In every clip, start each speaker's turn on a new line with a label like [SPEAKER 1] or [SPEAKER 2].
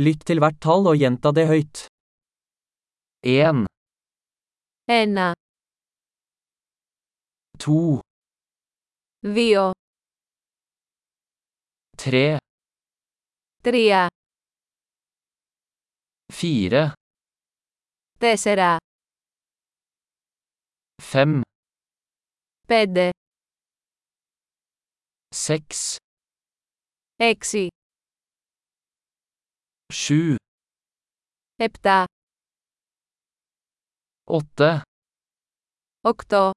[SPEAKER 1] Lytt til hvert tall og gjenta det høyt. 1,
[SPEAKER 2] Ένα,
[SPEAKER 1] 2,
[SPEAKER 2] δύο,
[SPEAKER 1] 3,
[SPEAKER 2] τρία,
[SPEAKER 1] 4,
[SPEAKER 2] τέσσερα,
[SPEAKER 1] 5,
[SPEAKER 2] πέντε,
[SPEAKER 1] 6,
[SPEAKER 2] έξι,
[SPEAKER 1] 7,
[SPEAKER 2] επτά,
[SPEAKER 1] 8,
[SPEAKER 2] οκτώ,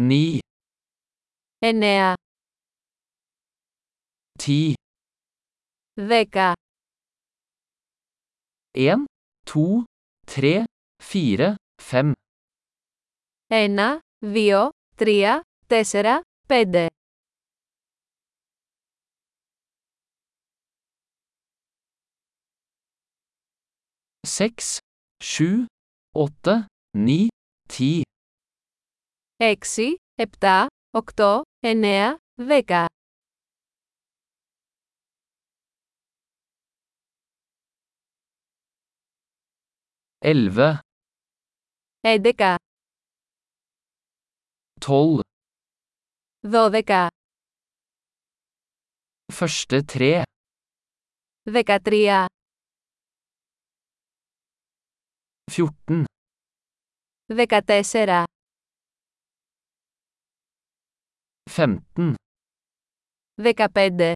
[SPEAKER 1] 9,
[SPEAKER 2] εννέα,
[SPEAKER 1] 10,
[SPEAKER 2] δέκα,
[SPEAKER 1] 1, 2, 3, 4, 5,
[SPEAKER 2] ένα, δύο, τρία, τέσσερα, πέντε,
[SPEAKER 1] 6, 7, 8, 9, 10,
[SPEAKER 2] έξι, επτά, οκτώ, εννέα, δέκα,
[SPEAKER 1] 11,
[SPEAKER 2] έντεκα,
[SPEAKER 1] 12,
[SPEAKER 2] δώδεκα,
[SPEAKER 1] første tre,
[SPEAKER 2] δεκατρία,
[SPEAKER 1] 14,
[SPEAKER 2] δεκατέσσερα,
[SPEAKER 1] 15,
[SPEAKER 2] δεκαπέντε,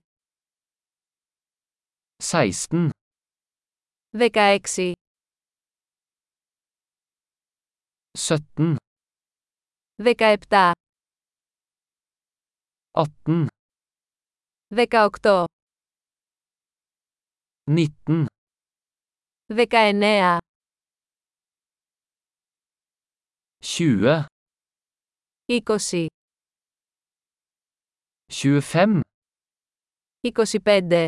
[SPEAKER 1] 16,
[SPEAKER 2] δεκαέξι,
[SPEAKER 1] 17,
[SPEAKER 2] δεκαεπτά,
[SPEAKER 1] 18,
[SPEAKER 2] δεκαοκτώ,
[SPEAKER 1] 19,
[SPEAKER 2] δεκαεννέα,
[SPEAKER 1] 20,
[SPEAKER 2] είκοσι,
[SPEAKER 1] 25,
[SPEAKER 2] εικοσιπέντε,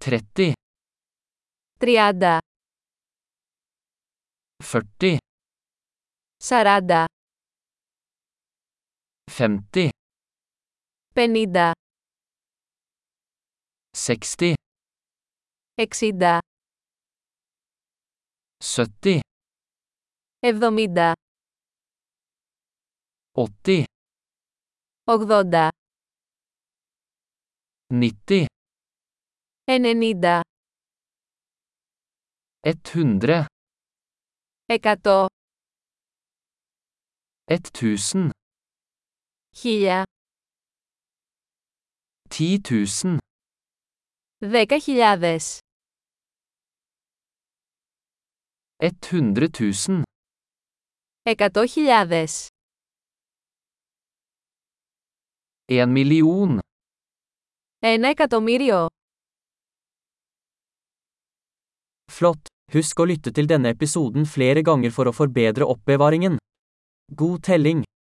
[SPEAKER 1] 30,
[SPEAKER 2] τριάντα,
[SPEAKER 1] 40,
[SPEAKER 2] σαράντα,
[SPEAKER 1] 50,
[SPEAKER 2] πενήντα,
[SPEAKER 1] 60,
[SPEAKER 2] εξήντα,
[SPEAKER 1] 70,
[SPEAKER 2] εβδομήντα,
[SPEAKER 1] 80,
[SPEAKER 2] ογδόντα,
[SPEAKER 1] 90,
[SPEAKER 2] ενενήντα,
[SPEAKER 1] 100,
[SPEAKER 2] εκατό,
[SPEAKER 1] 1000,
[SPEAKER 2] χίλια,
[SPEAKER 1] 10 000,
[SPEAKER 2] δέκα χιλιάδες,
[SPEAKER 1] 100 000,
[SPEAKER 2] εκατό χιλιάδες,
[SPEAKER 1] 1 million,
[SPEAKER 2] ένα εκατομμύριο.
[SPEAKER 1] Flott! Husk å lytte til denne episoden flere ganger for å forbedre oppbevaringen. God telling!